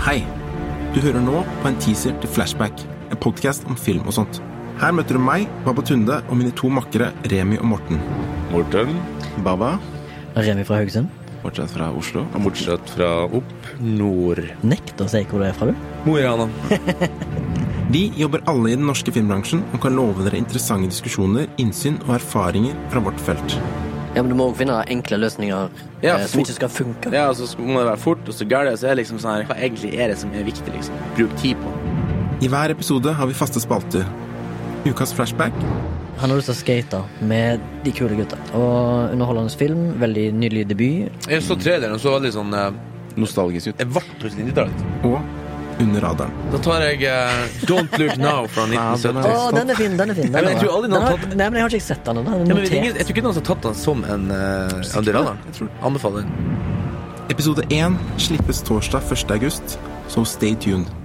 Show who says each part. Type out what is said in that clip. Speaker 1: Hei! Du hører nå på en teaser til Flashback, en podkast om film og sånt. Her møter du meg, Baba Tunde, og mine to makkere Remi og Morten.
Speaker 2: Morten,
Speaker 1: Baba,
Speaker 3: Remi fra Haugesund
Speaker 1: bortsett fra Oslo.
Speaker 2: bortsett fra opp nord.
Speaker 3: nekter å si hvor du er fra, du.
Speaker 2: Mo i Rana.
Speaker 1: Vi jobber alle i den norske filmbransjen og kan love dere interessante diskusjoner, innsyn og erfaringer fra vårt felt.
Speaker 3: Ja, men Du må også finne enkle løsninger
Speaker 4: Ja,
Speaker 3: eh, som
Speaker 4: fort.
Speaker 3: ikke skal funke.
Speaker 4: Ja, og så sk- må det være fort, og så gærent. Så er det liksom sånn her, hva egentlig er det som er viktig, liksom? Bruk tid på.
Speaker 1: I hver episode har vi faste spalter. Ukas flashback,
Speaker 3: Han har lyst til å skate med de kule gutta. Og underholdende film. Veldig nydelig debut.
Speaker 2: Jeg så traileren og så veldig sånn eh,
Speaker 5: Nostalgisk ut.
Speaker 2: Jeg ble plutselig 90-tallet.
Speaker 1: og Under radaren.
Speaker 2: Da tar jeg eh, Don't Look Now fra
Speaker 3: Å,
Speaker 2: 1970.
Speaker 1: stopp.
Speaker 3: den er fin! den er fin den
Speaker 2: Ja, men jeg
Speaker 3: er
Speaker 2: tror aldri noen
Speaker 3: bra. Den
Speaker 2: har
Speaker 3: har, Nei, men Jeg har ikke sett den. den er
Speaker 2: Ja, men jeg,
Speaker 3: notert.
Speaker 2: jeg tror ikke noen har tatt den som en uh, under
Speaker 1: Jeg tror
Speaker 2: radaren. Anbefaler den.
Speaker 1: Episode 1 slippes torsdag 1. august, så stay tuned.